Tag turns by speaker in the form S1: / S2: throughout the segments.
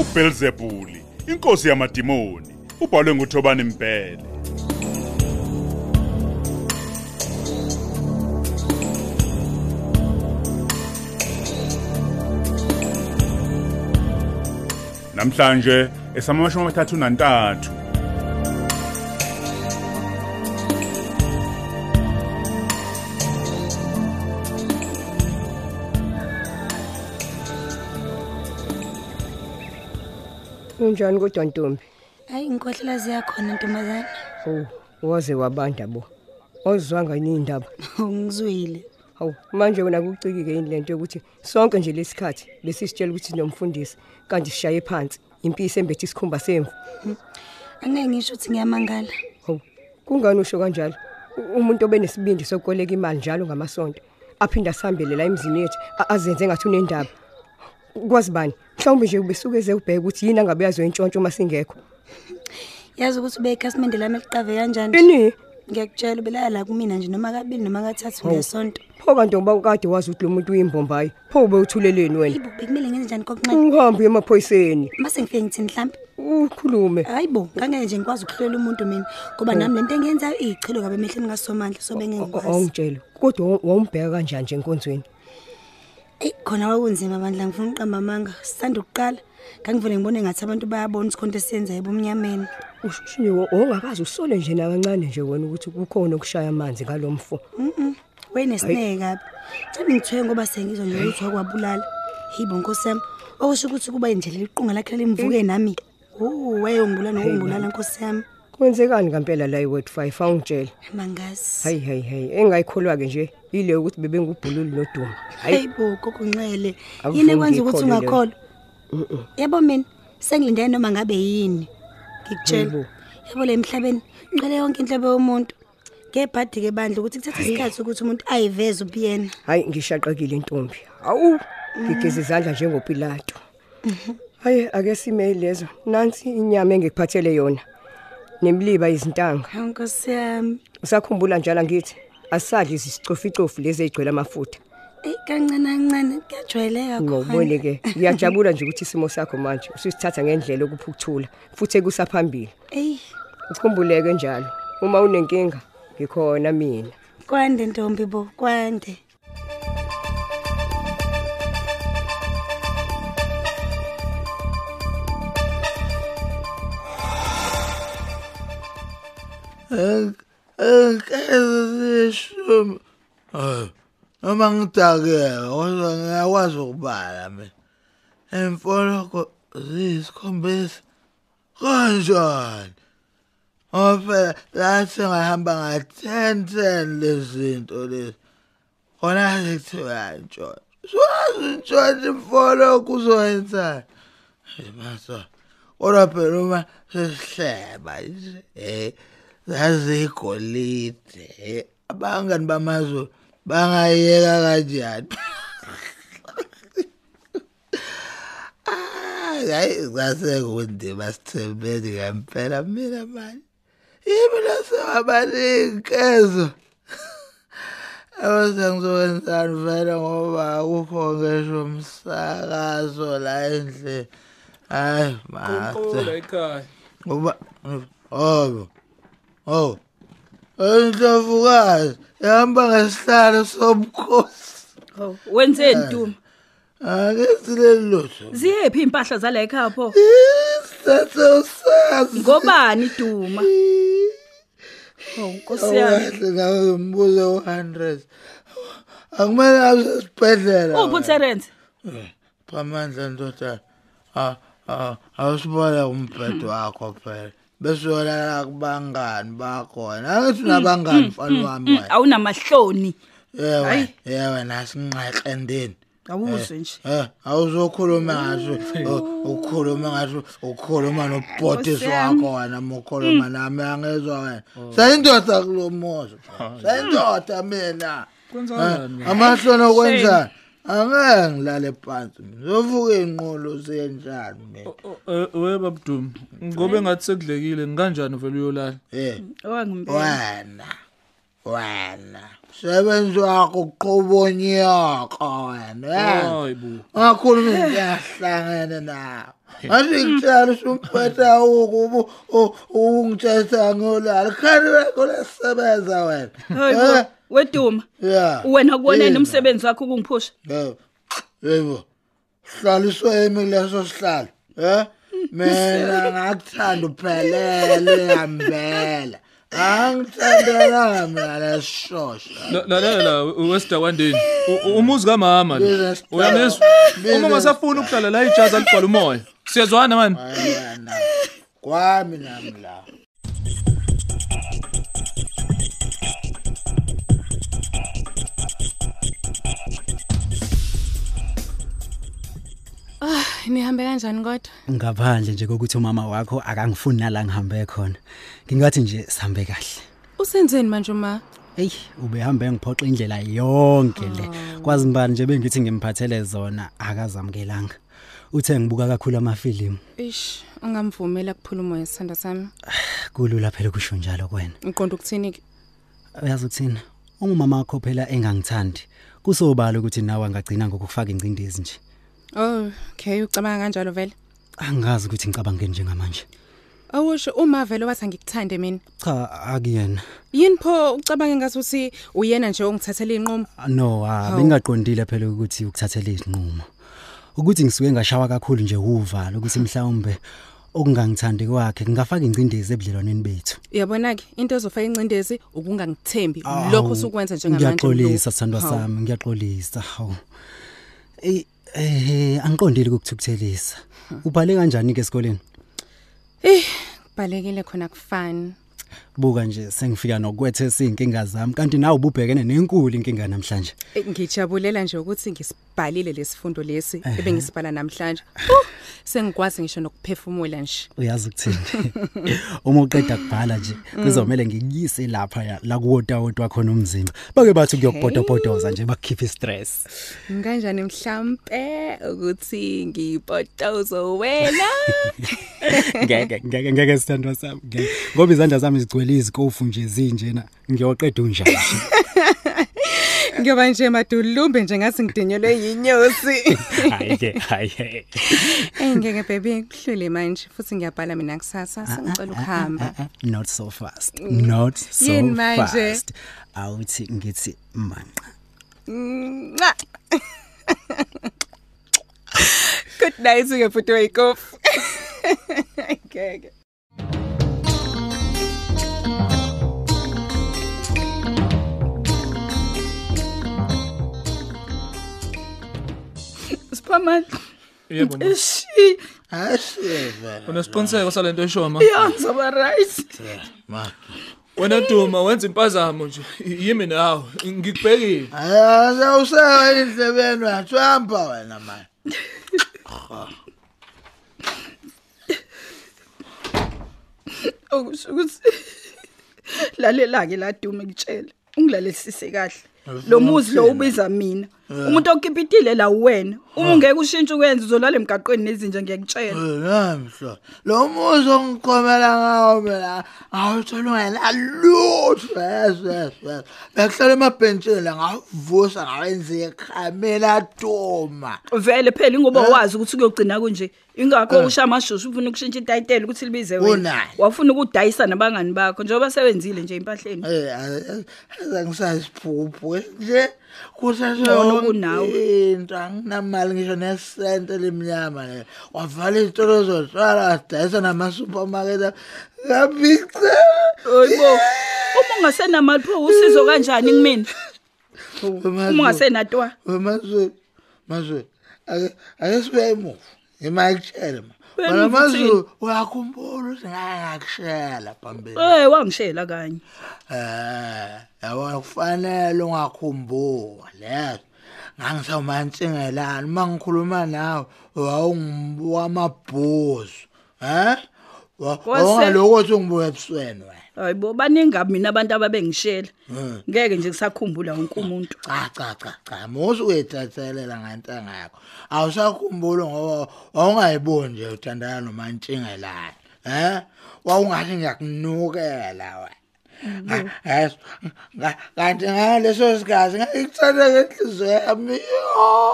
S1: uBelzebuli inkosi yamadimoni ubhalwe nguThobani Mbhele Namhlanje esamashumi amathathu nantathu
S2: Unjani kodwa Ntombi?
S3: Hayi inkohlela ziyakhona ntombazana.
S2: Hawu, waze wabanda bo. Ozwanga yini indaba?
S3: Ngizwile.
S2: Hawu, manje wena kucikike yini lento yokuthi sonke nje lesikhathi besisitshela ukuthi nomfundisi kanti sishaye phansi impisi embethe isikhumba semvu.
S3: Angeke ngisho ukuthi ngiyamangala.
S2: Hawu, kungani usho kanjalo? U- Umuntu obenesibindi sokoleka imali njalo ngamasonto aphinda asihambele la emzini yethu a- azenze ngathi unendaba. Kwazi bani? Mhlawumbe nje ubesukeze ubheke ukuthi yini angabe yazo intshontsho masingekho.
S3: Yazi ukuthi ube ikhasimende lami liqave kanjani? nje.
S2: Ini?
S3: Ngiyakutshela ubelala la kumina nje noma kabili noma kathathu
S2: Oh.
S3: ngesonto.
S2: Pho kanti ngoba ukade wazi ukuthi lo muntu uyimbombayi. Pho ube uthuleleni wena.
S3: Ibo bekumele ngenze njani kokunxele?
S2: uhambe emaphoyiseni
S3: Mase ngifike ngithini mhlambi?
S2: ukhulume
S3: Hayibo, ngangeke nje ngikwazi ukuhlela umuntu mina ngoba nami lento engiyenzayo iyichilo kabe emehlweni kaSomandla so
S2: Oh,
S3: bengengikwazi.
S2: awungitshela kodwa wawumbheka kanjani nje enkonzweni
S3: Ey khona kwakunzima bandla ngifuna uqamba amanga. Sisanda ukuqala. Ngangivule ngibone ngathi abantu bayabona ukuthi konke esiyenzayo ebumnyameni.
S2: ushini ongakazi usole nje nakancane nje wena ukuthi kukhona ukushaya amanzi ngalomfo
S3: Mhm. Wenesineke kabi. Cebe ngithwe ngoba sengizwa nje ukuthi wakwabulala. Hibo Nkosi yami. Okusho ukuthi kuba indlela liqunga lakhe limvuke nami. Uh, wayongibulala nokungibulala Nkosi yami.
S2: kwenzekani ngempela la iwet 5 awungitshela
S3: Mangazi.
S2: hayi hayi hayi engayikholwa ke nje ile ukuthi bebengubhululi noduma hayi
S3: Hayibo kokunxele.
S2: Awuvumi
S3: Yini ekwenza ukuthi
S2: ngiyikholwe leyo.
S3: ungakholwa? Yebo mina sengilinde noma ngabe yini. Ngikutshela.
S2: Hayibo.
S3: Yebo le emhlabeni ngicela yonke inhlobo yomuntu. Ngebhadi ke bandla ukuthi kuthatha isikhathi ukuthi umuntu ayiveze ubuyena.
S2: hayi ngishaqekile ntombi awu ngigeza izandla njengopilato hayi ake sime lezo nansi inyama engikuphathele yona nemliba izintanga
S3: Hawu Nkosi yami.
S2: Usakhumbula njalo ngithi asadli isicoficofi lezi ezigcwele amafutha.
S3: Ey kancane kancane kuyajwayeleka
S2: Ngobone ke ngiyajabula nje ukuthi isimo sakho manje usisithatha ngendlela okuphukuthula futhi ekusaphambili.
S3: Ey
S2: Ukhumbuleke njalo uma unenkinga ngikhona mina.
S3: kwande ntombi bo kwande.
S4: Akazishumi. Ah. Noma ngidakela kodwa ngiyakwazi ukubala mina. Emfoloko zisikhombisa. Kanjani? Ofe lase ngahamba nga-10-10 lezinto lezi. Khona sekuthiwa ntshontsho. Swazi ntshontsho imfoloko uzoyenzani? Masa. Ora phela uma sesihleba nje. Eh. Zazigolide. Eh, Abangani bamazulu bangayeka kanjani? hayi kwasekundima sithembeni ngempela mina manje yimi lasewabaninkezo E Awuze ngizokwenzani vele ngoba akukho ngisho umsakazo la endle hayi
S5: Ukhula
S4: mata
S5: ekhaya.
S4: ngoba oh oh Endlovukazi ihamba ngesihlalo sobukhosi
S6: Oh, wenzeni Duma?
S4: akuzileli lutho
S6: Ziyephi impahla zale ekhaya pho?
S4: isithathe usazi
S6: Ngobani Duma? Oh, Nkosi yami.
S4: Awukahle ngawe umbuzo u100. Akumele asibhedlela.
S6: Uphi uTerence?
S4: Phamandla ndoda. Ah ah awusibona umbhedo wakho phela. Bese uyolala kubangani bakhona. Angithi unabangani mfana wami
S6: Mm,
S4: wena.
S6: Awunamahloni.
S4: Yebo.
S6: Hayi.
S4: Yebo nasinqaqe endeni.
S6: Awuzwe nje.
S4: Eh awuzokhuluma oh, ngaso ukukhuluma ngaso ukukhuluma nobhotisi wakho wena mukhuluma nami angezwa wena sayindoda kulomozo sayindoda mina
S5: Kwenzakalani?
S4: Eh, amahloni okwenza angeke ngilale phansi ngizovuka inqolo senjani mina
S5: O- o- We babdumi. Ngobe ngathi sekudlekile ngikanjani vele uyolala?
S4: eh
S6: Owangimbeka.
S4: wena wena sebenzi wakho uqobonyaka wena eh?
S5: hayi bo
S4: akhuluma into yahlangene nawo manje ngitshela usumphetha ukubu ungitshesa ngolala khani lakho lesebenza wena
S6: hayi bo weduma
S4: Eh, ya
S6: wena kuwoneni
S4: Yebo.
S6: umsebenzi wakho ukungiphusha
S4: Yebo. Yebo. Hlaliswe emi leso sihlalo. Eh? Mina ngakuthanda uphelele yambela. Angithandana mina leshosha.
S5: La- lalela wester wandeni U- u- umuzi kamama lo.
S4: Business plan.
S5: uyamezwa uma ngasafuna ukuhlala la ijazi aligcwala umoya siyezwana mani
S4: Ayena. Kwami nami la.
S7: nihambe kanjani kodwa
S8: ngaphandle nje kokuthi umama wakho akangifuni nala ngihambe khona ngingathi nje sihambe kahle
S7: usenzeni manje uma
S8: eyi ubehambe ngiphoxa indlela yonke le kwazi ngibani nje bengithi ngimphathele zona akazamukelanga uthe ngibuka kakhulu amafilimu
S7: ish ungamvumela kuphula umoya sithanda sami
S8: kulula phela kusho njalo kwena
S7: ngiqonda ukuthini ke
S8: uyazi ukuthina uma umama wakho phela engangithandi kusobala ukuthi nawe angagcina ngokufaka ingcindezi nje
S7: oh okay ucabanga kanjalo vele
S8: angazi ukuthi ngicabangeni njengamanje
S7: awusho uma vele wathi angikuthande mina
S8: cha akuyena
S7: yini pho ucabange ngasuthi uyena nje ongithathela inqumo
S8: no ah,
S7: Hawu.
S8: bengingaqondile phela ukuthi ukuthathele izinqumo ukuthi ngisuke ngashawa kakhulu nje uvalo ukuthi mhlawumbe okungangithandi kwakhe ngingafaka ingcindezi ebudlelwaneni bethu
S7: uyabona ke into ezofaka incindezi ukungangithembi lokho
S8: Awu,
S7: usukwenza njengamanje Mdumo.
S8: ngiyaxolisa sithandwa
S7: Hawu.
S8: sami ngiyaxolisa hawu Eh, eh angiqondile ukukuthukuthelisa ubhale kanjani ke esikoleni
S7: eh balekile khona kufani
S8: buka nje sengifika nokwethesa izinkinga zami kanti nawe ububhekene nenkulu inkinga namhlanje
S7: Eh, ngijabulela nje ukuthi ngisibhalile lesifundo lesi ebengisibhala namhlanje Uh, sengikwazi ngisho nokuphefumula nje
S8: uyazi ukuthini uma uqeda kubhala nje
S7: Mm.
S8: kuzomela ngikuyise lapha ya- la kuwota wotwa khona umzimba bake bathi kuyokubhotopotoza nje bakukhipha istress
S7: kanjani mhlambe ukuthi ngipotozo wena
S8: ngeke ngeke ngeke sithandwa sami ngeke. ngoba izandla zami zigcwele izikofu nje zinjena ngiyoqeda unjani
S7: ngiyoba nje madulumbe nje ngathi ngidinyelwe yinyosi
S8: hayi ke hayi ke.
S7: engeke baby kuhlule manje futhi ngiyabhala mina kusasa sengicela ukuhamba
S8: Ah, ah, not so fast not so
S7: Uh-uh. Yini manje?
S8: fast awuthi ngithi manqa
S7: Mwa. good night ke futhi wayikofu ngeke
S6: siphamandla
S5: yebo ma.
S6: eshi
S4: Asive.
S5: unesiqiniseko salento eshoma
S6: ya ngizoba right
S4: Ma.
S5: wena duma wenza impazamo nje Y- yimi nawe ngikubhekile
S4: Aya usawa indlebeni wathamba wena manje.
S6: okusho ukuthi lalela-ke la dume kutshele ungilalelisise kahle lo muzi lo ubiza mina umuntu okukipitile la uwena uma ungeke ushintshe ukwenza uzolala emgaqweni nezinja ngiyakutshela
S4: Namhla lo muzi ongikhomela ngawo mina awuthola wena lutho yesesese bekuhlala emabhentshini la ngavusa ngawenza ikhamela toma
S6: vele phela ingoba wazi ukuthi kuyogcina kunje ingakho usha amashushu ufuna ukushintsha itayitela ukuthi libize wena
S4: Unayo.
S6: wafuna ukudayisa nabangani bakho njengoba sewenzile nje empahleni
S4: eh azangisasiphuphu nje kusasho
S6: Ngcono kunawe.
S4: into anginamali ngisho nesente lemnyama le wavala izitolo zotshwala wadayisa nama-supermarket ngabice
S6: oyibo uma ungasenamali pho usizo kanjani kumina uma ungasenatwa
S4: wemazulu mazulu ake ake sibe emuva imakutshele ma
S6: Emuva
S4: wena mazulu
S6: uthini?
S4: uyakhumbula ukuthi ngake ngakushela "Ah, phambili
S6: Eh wangishela kanye
S4: eh yabona kufanele ungakhumbuli leso ngangisawumansingelani uma ngikhuluma nawe wawungibuka amabhuzu um wawungalokothi ungibuka ebusweni wena
S6: hayibo baningabi mina abantu ababengishela ngeke nje kusakhumbula wonke umuntu
S4: cha cha cha cha mose uyethethelela ngentanga yakho awusakhumbuli ngoba wawungayiboni nje uthandana nomantshingelane um wawungathi ngiyakunukela wena hayi kanti ngaleso sikhathi ngayikuthanda ngenhliziyo yami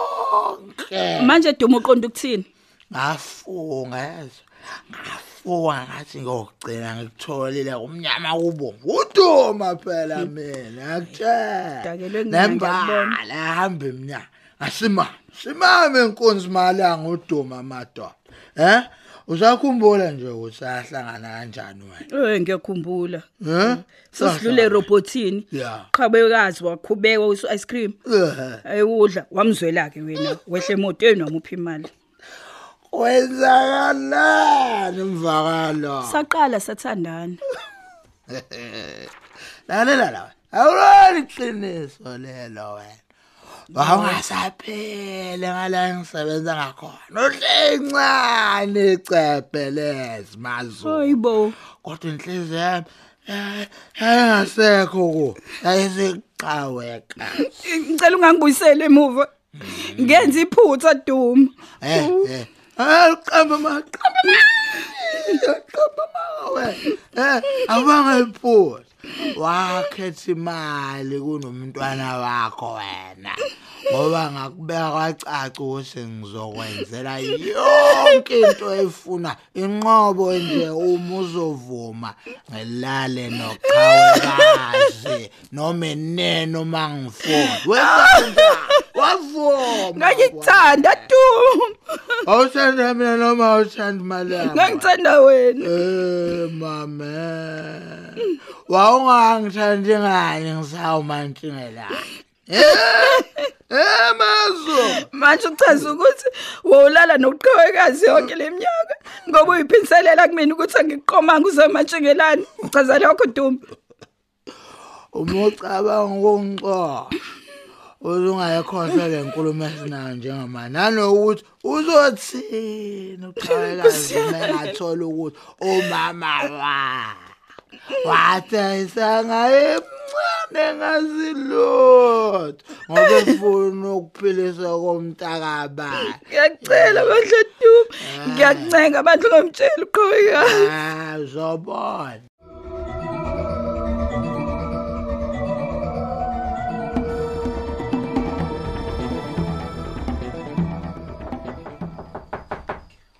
S4: yonke
S6: manje Duma uqonda ukuthini
S4: ngafunga yazi ngafunga ngathi ngiyokugcina ngikutholile umnyama kubomvu uduma phela mina
S6: Dakelwe
S4: akutshela
S6: ngina, ngiyakubona.
S4: hamba emnyama asimame simame inkunzi malanga uduma madoda eh usakhumbula nje ukuthi ahlangana kanjani wena
S6: eh ngiyakhumbula
S4: eh
S6: sesidlule robothini
S4: Yeah.
S6: qhabekazi wakhubeka usu ice cream
S4: Eh.
S6: ayudla wamzwela ke wena wehle emotweni wamupha imali
S4: Wenzakalani mvakalo?
S6: saqala sathandana
S4: Lalela la. Awulali qiniso lelo wena. Bawasaphele ngala ngisebenza ngakhona. Uhle incane icephelezi mazulu.
S6: hayibo
S4: Kodwa inhliziyo yami eh, ayangasekho ku. Ayisiqaweka.
S6: ngicela ungangibuyisele emuva ngenza iphutha Duma
S4: Eh eh. Aqamba maqamba aqamba mawe. Eh awanga iphutha. Wakhetha imali kunomntwana wakho wena. Ngoba ngakubeka kwacaca ukuthi ngizokwenzela yonke into efuna inqobo nje uma uzovuma ngilale noqhawekazi noma neno mangifona wena wavuma
S6: ngangikuthanda Duma
S4: awuthanda mina noma awuthandi imali yami
S6: ngangithanda wena
S4: eh mama wawungangithandi ngani ngisawumantshingela eh eh mazo
S6: manje uchaza ukuthi wowulala nokuqhawekazi yonke leminyaka ngoba uyiphinselela kumina ukuthi angiqomanga uzemantshingelani uchaza lokho Duma
S4: uma ucabanga ukungixoxa uzungayikhohlwa le nkulumo esinayo njengamanje nanokuthi uzothini uqhawekazi mengathola ukuthi umama wakhe wathayisanga emncane ngazilutho ngoba efuna ukuphiliswa komntakabani
S6: ngiyacela bandla Duma ngiyakuncenga abantu ungamtshela uqhawekazi
S4: zobona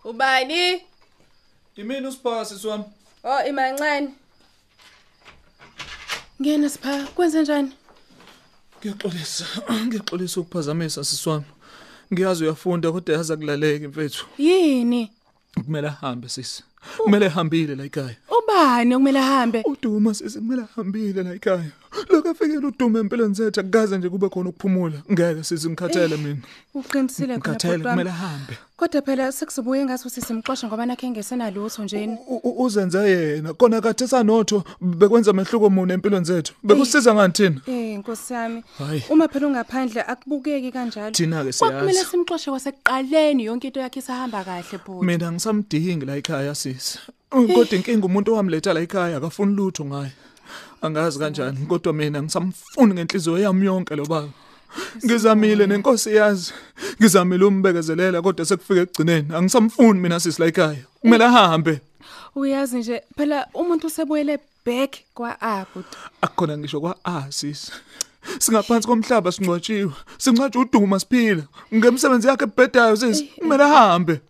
S9: Ubani?
S5: Imini usiphasa siwami.
S9: Oh imancane.
S7: Ngena sipha, kwenze njani?
S5: Ngiyaxolisa. Ngiyaxolisa ukuphazamisa sisiwami. Ngiyazi uyafunda kodwa yaza kulaleka mfethu.
S7: Yini?
S5: Kumele ahambe sisi. Kumele ehambile la ekhaya.
S7: Ubani okumele ahambe?
S5: Uduma sisi kumele ahambile la ekhaya. Lokho afikele uDuma empilweni zethu akukaze nje kube khona ukuphumula. Ngeke sisi ngikhathele mina.
S7: Uqinisile khona
S5: Ngikhathele
S7: bhuti
S5: kumele
S7: wami.
S5: ahambe.
S7: Kodwa phela sekuzobuye ngathi uthi simxoxa ngoba nakhe engesenalutho njeni.
S5: U- u- Uzenze yena. Kona kade sanotho bekwenza mehluko muni empilweni zethu. Bekusiza ngani thina?
S7: Eh Nkosi yami,
S5: Hayi.
S7: uma phela ungaphandle akubukeki kanjalo.
S5: Thina-ke
S7: Kwakumele
S5: siyazi.
S7: simxoxe kwasekuqaleni yonke into yakhe isahamba kahle bhuti.
S5: Mina ngisamdingi la ekhaya sisi. Kodwa inkinga umuntu owamletha la ekhaya akafuni lutho ngaye. Angazi kanjani kodwa mina ngisamfuni ngenhliziyo yami yonke lo baba. Ngizamile nenkosi yazi. Ngizamile umbekezelela kodwa sekufike ekugcineni angisamfuni mina sisi la ekhaya. Kumele ahambe.
S7: Uyazi nje phela umuntu usebuyele back kwa-Abud.
S5: Akukhona ngisho kwa A sisi. Singaphansi komhlaba singcwatshiwe. Singcwatshwe uduma siphila. Ngemsebenzi yakhe ebhedayo sisi. Kumele ahambe.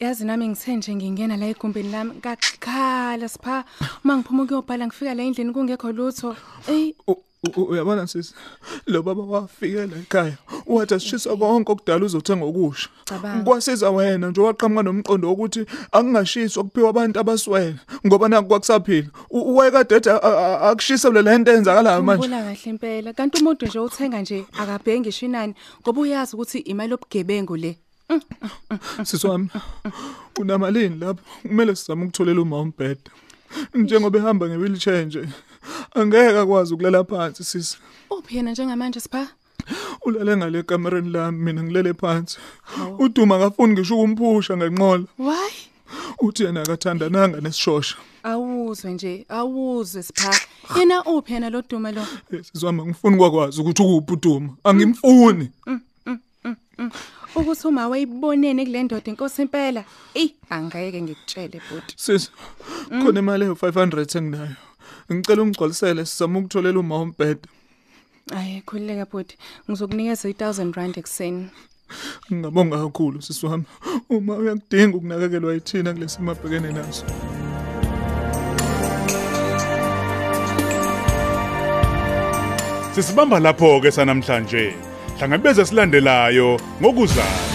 S7: Yazi nami ngithe nje ngingena la egumbini lami ngakhala sipha uma ngiphuma ukuyobhala ngifika la endlini kungekho lutho. Ey
S5: U- u- uyabona sisi lo baba wafikela ekhaya wathi asishiswa konke okudala uzothenga okusha
S7: Cabanga.
S5: kwasiza wena nje waqhamuka nomqondo wokuthi akungashiswa kuphiwa abantu abaswele ngoba naku kwakusaphila U- wayekade ethi a- a- a- akushise le lento eyenzakalayo Ah, manje
S7: Ubula kahle impela kanti umuntu nje uthenga nje akabhengi shinani ngoba uyazi ukuthi imali obugebengu le
S5: sisi wami unamalini lapho kumele sizame ukutholela uma umbhede njengoba ehamba nge-wheelchair nje angeke akwazi ukulala phansi sisi
S7: uphi yena njengamanje sipha
S5: ulale ngale kamereni lami mina ngilele phansi uduma akafuni ngisho ukumphusha ngenqola
S7: why
S5: uthi yena akathandananga nesishosha
S7: awuzwe nje awuzwe sipha yena uphi yena lo duma lo
S5: Eh, sizwami angifuni kwakwazi ukuthi ukuphi uduma angimfuni
S7: ukuthi uma wayibonene kule ndoda inkosi impela ey angeke ngikutshele bhuti
S5: sisi khona imali eyo 500 enginayo Ngicela ungigcwalisele sizama ukutholela uma umbhedo.
S7: Ayi khulileka bhuti. Ngizokunikeza i1000 rand ekseni.
S5: Ngingabonga kakhulu sisi wami uma uyakudinga ukunakekelwa yithina kulesi mabhekene naso.
S1: Sisibamba lapho ke sanamhlanje. Hlangabeze silandelayo ngokuzayo.